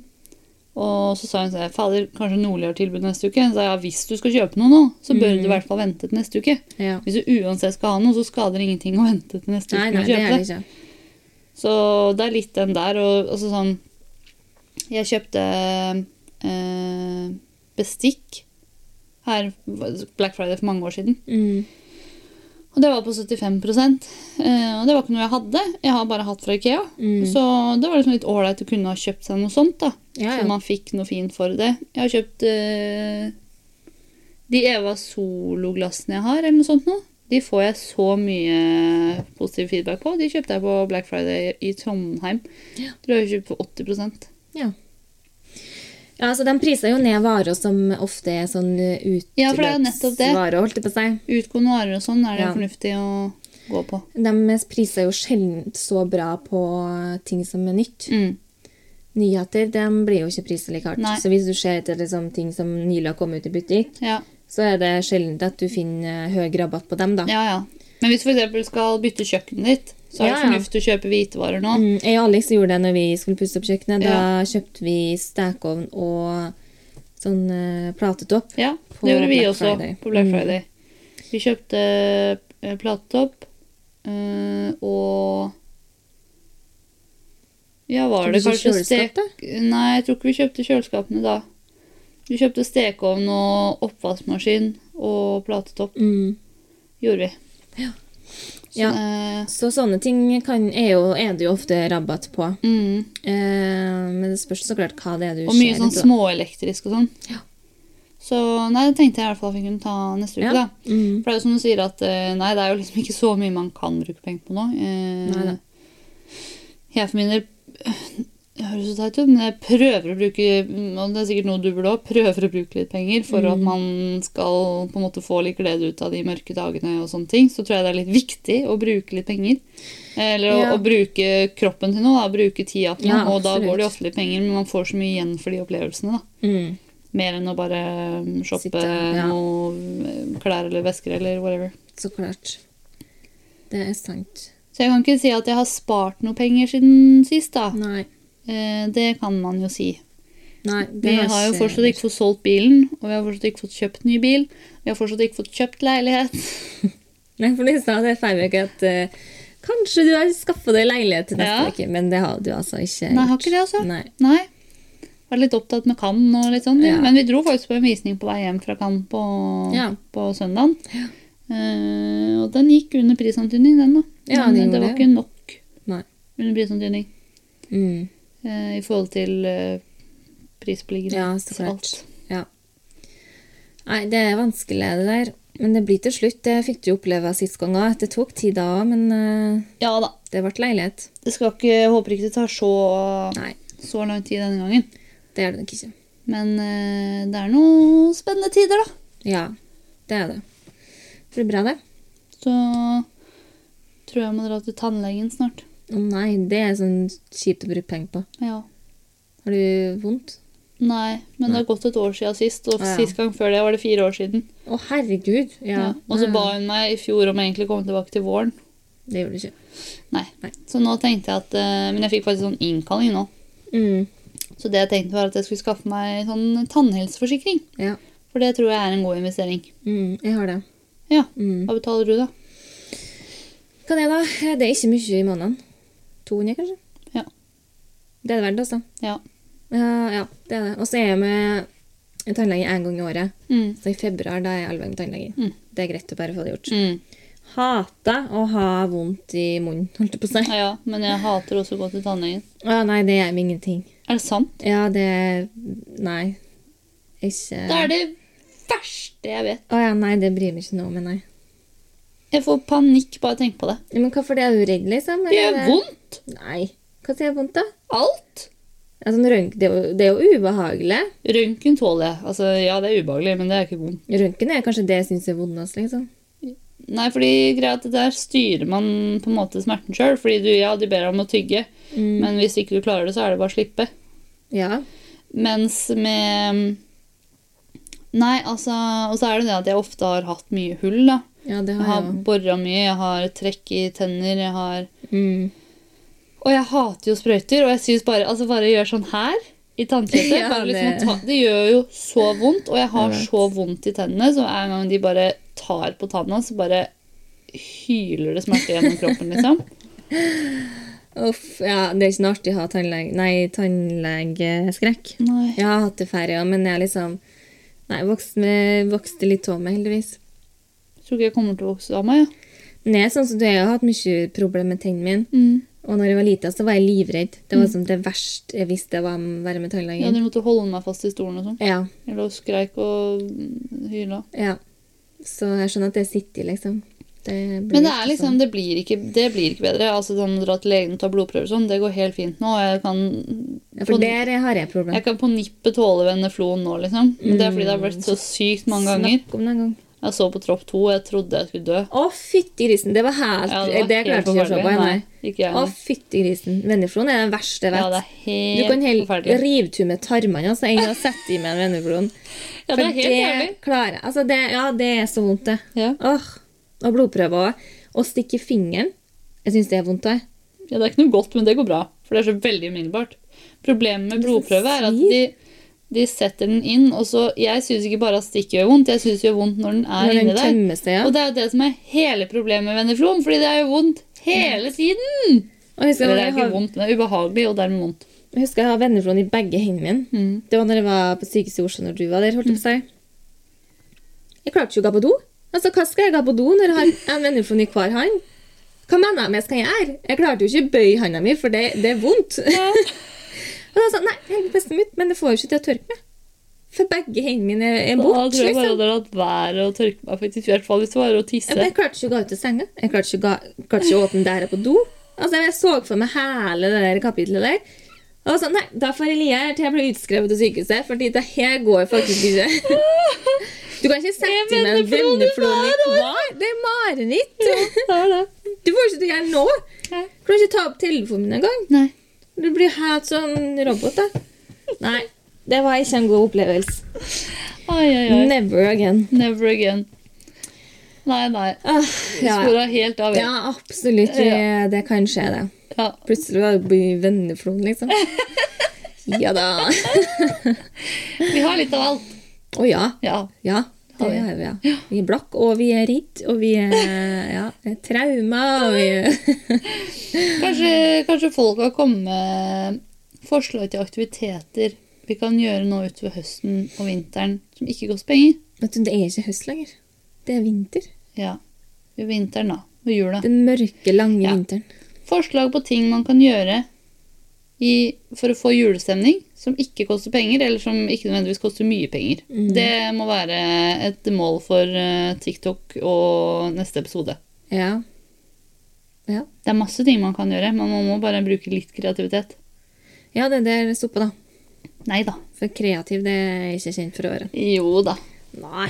Speaker 1: Og så sa hun sånn Fader, kanskje Nordli har tilbud neste uke? Så sa jeg ja, hvis du skal kjøpe noe nå, så bør
Speaker 2: Mm.
Speaker 1: du i hvert fall vente til neste uke.
Speaker 2: Ja.
Speaker 1: Hvis du uansett skal ha noe, så skader det ingenting å vente til neste uke
Speaker 2: Nei,
Speaker 1: med
Speaker 2: nei,
Speaker 1: å
Speaker 2: det er liksom
Speaker 1: kjøpe
Speaker 2: det
Speaker 1: det.
Speaker 2: ikke.
Speaker 1: Så det er litt den der, og altså sånn Jeg kjøpte eh, bestikk her Black Friday for mange år siden.
Speaker 2: Mm.
Speaker 1: Og det var på 75 eh, Og det var ikke noe jeg hadde. Jeg har bare hatt fra Ikea.
Speaker 2: Mm.
Speaker 1: Så det var liksom litt ålreit å kunne ha kjøpt seg noe sånt. da. Så
Speaker 2: Ja, ja.
Speaker 1: man fikk noe fint for det. Jeg har kjøpt eh, de Eva Solo-glassene jeg har, eller noe sånt nå. De får jeg så mye positiv feedback på. De kjøpte jeg på Black Friday i Trondheim.
Speaker 2: Ja.
Speaker 1: Tror jeg kjøpte for 80
Speaker 2: ja. Ja, altså De priser jo ned varer som ofte er sånn eh,
Speaker 1: Ja, for det er jo nettopp det.
Speaker 2: utløpsvarer, holdt jeg på å si.
Speaker 1: Utgående varer og sånn er det
Speaker 2: Ja.
Speaker 1: fornuftig å gå på.
Speaker 2: De priser jo sjelden så bra på ting som er nytt.
Speaker 1: Mm.
Speaker 2: Nyheter de blir jo ikke priset like hardt.
Speaker 1: Nei.
Speaker 2: Så hvis du ser etter liksom, ting som nylig har kommet ut i butikk,
Speaker 1: Ja.
Speaker 2: så er det sjelden at du finner eh, høy rabatt på dem. da.
Speaker 1: ja, ja. Men hvis du f.eks. skal bytte kjøkkenet ditt, så er det
Speaker 2: Ja, ja.
Speaker 1: fornuftig å kjøpe hvitevarer nå.
Speaker 2: Mm, jeg og Alex gjorde det når vi skulle pusse opp kjøkkenet. Da kjøpte vi stekeovn og sånn eh, platetopp.
Speaker 1: Ja,
Speaker 2: På
Speaker 1: det gjorde vi
Speaker 2: Black
Speaker 1: også
Speaker 2: Friday.
Speaker 1: på Black
Speaker 2: Mm.
Speaker 1: Friday. Vi kjøpte eh, platetopp eh, og Ja, var
Speaker 2: Kjøpte
Speaker 1: det
Speaker 2: du
Speaker 1: kanskje
Speaker 2: kjøleskap,
Speaker 1: stek... Nei, jeg tror ikke vi kjøpte kjøleskapene da. Vi kjøpte stekeovn og oppvaskmaskin og platetopp.
Speaker 2: Mm.
Speaker 1: Gjorde vi. Så,
Speaker 2: Ja.
Speaker 1: eh,
Speaker 2: Så sånne ting kan, er, jo, er det jo ofte rabatt på.
Speaker 1: mm.
Speaker 2: Eh, men det spørs så klart hva det er du
Speaker 1: Og mye
Speaker 2: ser
Speaker 1: sånn
Speaker 2: etter, da.
Speaker 1: småelektrisk og sånn.
Speaker 2: Ja.
Speaker 1: Så nei, det tenkte jeg i hvert fall at vi kunne ta neste uke,
Speaker 2: Ja.
Speaker 1: da.
Speaker 2: Mm.
Speaker 1: For det er jo som du sier at eh, nei, det er jo liksom ikke så mye man kan bruke penger på nå. Eh,
Speaker 2: Neida.
Speaker 1: Jeg for min del det høres så teit ut, men jeg prøver å bruke og det er sikkert noe du burde også, prøver å bruke litt penger for
Speaker 2: Mm.
Speaker 1: at man skal på en måte få litt glede ut av de mørke dagene. og sånne ting, Så tror jeg det er litt viktig å bruke litt penger. Eh, Eller å,
Speaker 2: Ja.
Speaker 1: å bruke kroppen til noe. da, Bruke tida til noe.
Speaker 2: Ja,
Speaker 1: og da
Speaker 2: absolutt.
Speaker 1: går det jo ofte litt penger, men man får så mye igjen for de opplevelsene. da.
Speaker 2: Mm.
Speaker 1: Mer enn å bare mm, shoppe
Speaker 2: Sitte, ja.
Speaker 1: noe um, klær eller vesker eller whatever.
Speaker 2: Så klart. Det er sant.
Speaker 1: Så jeg kan ikke si at jeg har spart noe penger siden sist, da.
Speaker 2: Nei.
Speaker 1: Eh, det kan man jo si.
Speaker 2: Nei
Speaker 1: Vi har jo fortsatt ikke fått solgt bilen, og vi har fortsatt ikke fått kjøpt ny bil. Vi har fortsatt ikke fått kjøpt leilighet.
Speaker 2: Nei, for du sa det forrige uke at eh, kanskje du har skaffa deg leilighet til neste
Speaker 1: Ja.
Speaker 2: uke, men det har du altså ikke
Speaker 1: Nei, har ikke det, altså.
Speaker 2: Nei.
Speaker 1: Nei. Vært litt opptatt med Cannes og litt sånn. vi.
Speaker 2: Ja.
Speaker 1: Men vi dro faktisk på en visning på vei hjem fra Cannes på,
Speaker 2: Ja.
Speaker 1: på søndagen. Eh, og den gikk under prisantydning, den, da.
Speaker 2: Ja,
Speaker 1: Men
Speaker 2: den gjorde
Speaker 1: det var
Speaker 2: det.
Speaker 1: ikke nok
Speaker 2: Nei.
Speaker 1: under prisantydning
Speaker 2: Mm.
Speaker 1: eh, i forhold til eh, prisbeliggenhet.
Speaker 2: Ja, så klart.
Speaker 1: alt.
Speaker 2: Ja. Nei, det er vanskelig, det der. Men det blir til slutt. Det fikk du oppleve sist gang òg. Det tok ti dager, men eh,
Speaker 1: Ja da.
Speaker 2: det ble leilighet.
Speaker 1: Det skal ikke, jeg håper ikke det tar så,
Speaker 2: Nei,
Speaker 1: så lang tid denne gangen.
Speaker 2: det er det nok ikke.
Speaker 1: Men eh, det er noen spennende tider, da.
Speaker 2: Ja, det er det. Det blir bra, det.
Speaker 1: Så tror jeg jeg må dra til tannlegen snart.
Speaker 2: Å nei, det er sånn kjipt å bruke penger på.
Speaker 1: Ja.
Speaker 2: Har du vondt?
Speaker 1: Nei, men det har gått et år siden sist, og
Speaker 2: Å, ja.
Speaker 1: sist gang før det var det fire år siden.
Speaker 2: Å, herregud! Ja. Mm.
Speaker 1: Ja. Og så
Speaker 2: Nei,
Speaker 1: ba hun meg i fjor om jeg egentlig å komme tilbake til våren.
Speaker 2: Det gjorde du ikke.
Speaker 1: Nei.
Speaker 2: Nei.
Speaker 1: Så nå tenkte jeg at eh, Men jeg fikk faktisk sånn innkalling nå.
Speaker 2: Mm.
Speaker 1: Så det jeg tenkte var at jeg skulle skaffe meg sånn tannhelseforsikring.
Speaker 2: Ja.
Speaker 1: For det tror jeg er en god investering.
Speaker 2: Mm, jeg har det.
Speaker 1: Ja.
Speaker 2: Mm.
Speaker 1: Hva betaler du, da?
Speaker 2: Hva det er da? Det er ikke mye i måneden. 200, kanskje?
Speaker 1: Ja.
Speaker 2: Det er det verdt, altså.
Speaker 1: Ja.
Speaker 2: Ja, ja, det er det. Og så er jeg med en tannlege én gang i året.
Speaker 1: Mm.
Speaker 2: Så i februar da er jeg elleve med tannlege.
Speaker 1: Mm.
Speaker 2: Det er greit å bare få det gjort.
Speaker 1: Mm.
Speaker 2: Hater å ha vondt i munnen, holdt jeg på å si.
Speaker 1: Ja, ja, men jeg hater også å gå til tannlegen.
Speaker 2: Å, nei, det gjør meg ingenting.
Speaker 1: Er det sant?
Speaker 2: Ja, det Nei. Ikke
Speaker 1: Det er det verste jeg vet.
Speaker 2: Å ja, nei, det bryr meg ikke noe om, men nei.
Speaker 1: Jeg får panikk bare jeg tenker på det.
Speaker 2: Ja, Men hvorfor det? Er du redd, liksom?
Speaker 1: Det
Speaker 2: eller
Speaker 1: gjør
Speaker 2: er
Speaker 1: vondt.
Speaker 2: Nei. Hva sier vondt, da?
Speaker 1: Alt.
Speaker 2: Ja, sånn rønk, det, er jo, det er jo ubehagelig.
Speaker 1: Røntgen tåler jeg. Altså, ja, det er ubehagelig, men det er ikke vondt.
Speaker 2: Røntgen er kanskje det jeg syns er vondest, liksom.
Speaker 1: Nei, fordi greia er at der styrer man på en måte smerten sjøl. Fordi du, ja, de ber deg om å tygge,
Speaker 2: Mm.
Speaker 1: men hvis ikke du klarer det, så er det bare å slippe.
Speaker 2: Ja.
Speaker 1: Mens med Nei, altså Og så er det det at jeg ofte har hatt mye hull, da.
Speaker 2: ja, det
Speaker 1: Jeg
Speaker 2: har
Speaker 1: har
Speaker 2: jeg òg.
Speaker 1: bora mye, jeg har trekk i tenner, jeg har
Speaker 2: Mm.
Speaker 1: Og jeg hater jo sprøyter, og jeg syns bare Altså, bare gjør sånn her i tannkjøttet.
Speaker 2: Ja,
Speaker 1: bare liksom
Speaker 2: det-
Speaker 1: å ta- det gjør jo så vondt, og jeg har
Speaker 2: Jeg vet.
Speaker 1: så vondt i tennene, så hver gang de bare tar på tanna, så bare hyler det smerte gjennom kroppen, liksom.
Speaker 2: Uff, ja, det er ikke noe artig å ha tannlege... Nei, tannlegeskrekk.
Speaker 1: Nei.
Speaker 2: Jeg har hatt det før, ja, men jeg er liksom Nei, vokste, med, vokste litt av meg, heldigvis.
Speaker 1: Tror ikke jeg kommer til å vokse av meg, ja.
Speaker 2: Men jeg er sånn som du, jeg har hatt mye problemer med tennene mine.
Speaker 1: Mm.
Speaker 2: Og når jeg var lita, så var jeg livredd. Det var som det verste jeg visste var å være med
Speaker 1: Ja,
Speaker 2: tannlegen.
Speaker 1: dere måtte holde meg fast i stolen og sånn.
Speaker 2: Ja,
Speaker 1: Jeg lå og skreik og mm, hyla.
Speaker 2: ja. Så jeg skjønner at det sitter i, liksom. Det blir
Speaker 1: Men det
Speaker 2: ikke sånn.
Speaker 1: er liksom, det blir ikke, det blir ikke bedre. Altså sånn Dra til legen og ta blodprøver og sånn, det går helt fint nå. og Jeg kan,
Speaker 2: sånn. ja,
Speaker 1: på-
Speaker 2: For der har jeg
Speaker 1: jeg
Speaker 2: problemer.
Speaker 1: kan på nippet tåle veneflon nå, liksom. Men det er fordi det har vært så sykt mange ganger.
Speaker 2: Mm. Snakk om det en gang.
Speaker 1: Jeg så på Tropp 2, jeg trodde jeg skulle dø.
Speaker 2: Å, fytti grisen! Det var helt
Speaker 1: Ja,
Speaker 2: Det,
Speaker 1: var helt
Speaker 2: klarte jeg ikke å se på.
Speaker 1: forferdelig.
Speaker 2: Nei.
Speaker 1: Nei, ikke jeg.
Speaker 2: Å, fytti grisen. Venneflon er den verste jeg
Speaker 1: ja,
Speaker 2: vet.
Speaker 1: det er helt
Speaker 2: du kan heller
Speaker 1: forferdelig.
Speaker 2: rive tu med tarmene. Altså, enn å sette i meg en venneflon.
Speaker 1: Ja, det er helt jævlig.
Speaker 2: klarer jeg. Altså, det, ja, det er så vondt, det.
Speaker 1: Ja.
Speaker 2: Åh, Og blodprøver òg. Å stikke fingeren. Jeg syns det er vondt òg.
Speaker 1: ja, det er ikke noe godt, men det går bra. For det er så veldig umiddelbart. Problemet med
Speaker 2: Det er så
Speaker 1: blodprøve er at
Speaker 2: sykt.
Speaker 1: de, de setter den inn, og så Jeg syns ikke bare at stikket gjør vondt, jeg syns det gjør vondt når den er
Speaker 2: Når den
Speaker 1: inni der.
Speaker 2: tømmer seg. Ja.
Speaker 1: Og det er jo det som er hele problemet med veneflon, fordi det er jo vondt hele tiden.
Speaker 2: Og jeg husker,
Speaker 1: Eller det
Speaker 2: jeg
Speaker 1: er ikke
Speaker 2: har,
Speaker 1: vondt, men det er ubehagelig og dermed vondt.
Speaker 2: jeg husker jeg har venneflon i begge hendene mine.
Speaker 1: Mm.
Speaker 2: Det var når jeg var på sykehuset i Oslo når du var der. holdt Jeg på seg. Jeg klarte ikke å gå på do. Altså, Hva skal jeg gå på do når jeg har en venneflon i hver hånd? Hva mener jeg med skal jeg gjøre? Jeg klarte jo ikke å bøye handa mi, for det, det er vondt. Og da sa jeg, nei, jeg er bestemt mitt, men det får jo ikke til å tørke meg. For begge hendene mine er- er
Speaker 1: Da
Speaker 2: borte.
Speaker 1: tror jeg bare
Speaker 2: Liksom.
Speaker 1: jeg hadde latt være å tørke meg, faktisk, i hvert fall hvis det var å
Speaker 2: Ja,
Speaker 1: tisse.
Speaker 2: men Jeg klarte ikke å gå ut av senga. Jeg klarte ikke, å ga- klarte ikke å åpne døra på do. Altså, Jeg så for meg hele det der kapitlet der. Og sånn, nei, Da får jeg ligge her til jeg blir utskrevet til sykehuset, fordi det her går faktisk ikke. Du kan ikke sette inn en
Speaker 1: venneflon i
Speaker 2: venneflon i hver. Det er mareritt.
Speaker 1: Det er det.
Speaker 2: Du får ikke til å gjøre noe.
Speaker 1: Nei.
Speaker 2: Du kan ikke ta opp telefonen min engang.
Speaker 1: Nei.
Speaker 2: Du blir helt sånn robot, da. Nei, det var ikke en god opplevelse.
Speaker 1: Ai, ai, ai.
Speaker 2: Never again.
Speaker 1: Never again. Nei, nei.
Speaker 2: Ah, ja.
Speaker 1: Spora helt av.
Speaker 2: ja, absolutt. Det, det kan skje, det.
Speaker 1: Ja.
Speaker 2: Plutselig var det blir venneflon, liksom. Ja da.
Speaker 1: Vi har litt av alt.
Speaker 2: Å ja.
Speaker 1: Ja.
Speaker 2: Ja. Det
Speaker 1: Har vi.
Speaker 2: er vi, ja. Vi er blakk, og vi er ridd, og vi er ja, det er trauma, og vi er
Speaker 1: Kanskje, kanskje folk har kommet med forslag til aktiviteter vi kan gjøre nå utover høsten og vinteren som ikke koster penger.
Speaker 2: Vet du, det er ikke høst lenger. Det er vinter.
Speaker 1: Ja. I vinteren, da. Og jula.
Speaker 2: Den mørke, lange
Speaker 1: Ja.
Speaker 2: vinteren.
Speaker 1: Forslag på ting man kan gjøre i, for å få julestemning som ikke koster penger, eller som ikke nødvendigvis koster mye penger.
Speaker 2: Mhm.
Speaker 1: Det må være et mål for eh, TikTok og neste episode.
Speaker 2: Ja. Ja,
Speaker 1: Det er masse ting man kan gjøre, men man må bare bruke litt kreativitet.
Speaker 2: ja det der stopper, da.
Speaker 1: Nei da.
Speaker 2: For kreativ det er jeg ikke kjent for å være.
Speaker 1: Jo da.
Speaker 2: Nei.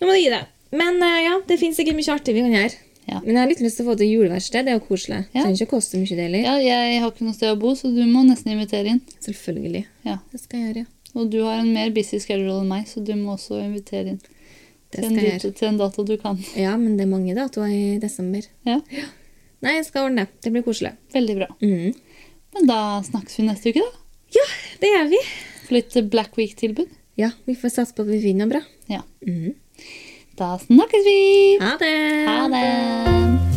Speaker 2: Nå må du gi deg. Men eh, ja, det fins sikkert mye artig vi kan gjøre.
Speaker 1: Ja.
Speaker 2: Men jeg har litt lyst til å få til juleverksted. Det er jo koselig.
Speaker 1: Ja.
Speaker 2: Trenger ikke å koste mye, det heller.
Speaker 1: Ja, jeg har ikke noe sted å bo, så du må nesten invitere inn.
Speaker 2: Selvfølgelig.
Speaker 1: Ja.
Speaker 2: Det skal jeg gjøre, ja.
Speaker 1: Og du har en mer busy schedule enn meg, så du må også invitere inn.
Speaker 2: Det
Speaker 1: Til en,
Speaker 2: skal jeg
Speaker 1: dato,
Speaker 2: gjøre.
Speaker 1: til en dato du kan.
Speaker 2: Ja, men det er mange datoer i desember.
Speaker 1: Ja,
Speaker 2: Nei, jeg skal ordne det. Det blir koselig.
Speaker 1: Veldig bra.
Speaker 2: Mm.
Speaker 1: Men da snakkes vi neste uke, da.
Speaker 2: Ja, det gjør vi.
Speaker 1: For litt Black Week-tilbud.
Speaker 2: Ja, vi får satse på at vi finner noe bra.
Speaker 1: Ja.
Speaker 2: Mhm.
Speaker 1: Da snakkes vi!
Speaker 2: Ha det!
Speaker 1: Ha det!